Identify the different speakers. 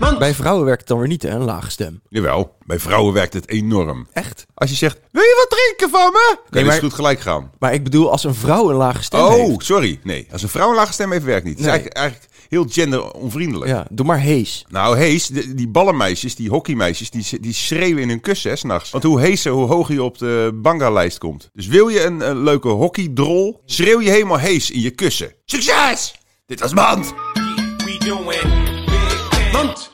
Speaker 1: Man.
Speaker 2: Bij vrouwen werkt het dan weer niet, hè? Een lage stem.
Speaker 1: Jawel, bij vrouwen werkt het enorm.
Speaker 2: Echt?
Speaker 1: Eh, Als je zegt, wil je wat drinken van me? Kan
Speaker 2: Nee,
Speaker 1: je
Speaker 2: maar-
Speaker 1: eens goed gelijk gaan.
Speaker 2: Maar ik bedoel, als een vrouw een lage stem
Speaker 1: Oh,
Speaker 2: heeft...
Speaker 1: sorry. Nee, als een vrouw een lage stem heeft, werkt niet. Het is
Speaker 2: Nee.
Speaker 1: eigenlijk, eigenlijk heel genderonvriendelijk.
Speaker 2: Ja, doe maar hees.
Speaker 1: Nou, hees, de- die ballenmeisjes, die hockeymeisjes, die, die schreeuwen in hun kussen hè, 's nachts. Want hoe heeser, hoe hoger je op de banga-lijst komt. Dus wil je een, eh, leuke hockeydrol, schreeuw je helemaal hees in je kussen. Succes! Dit was Mand!
Speaker 3: We doing big things.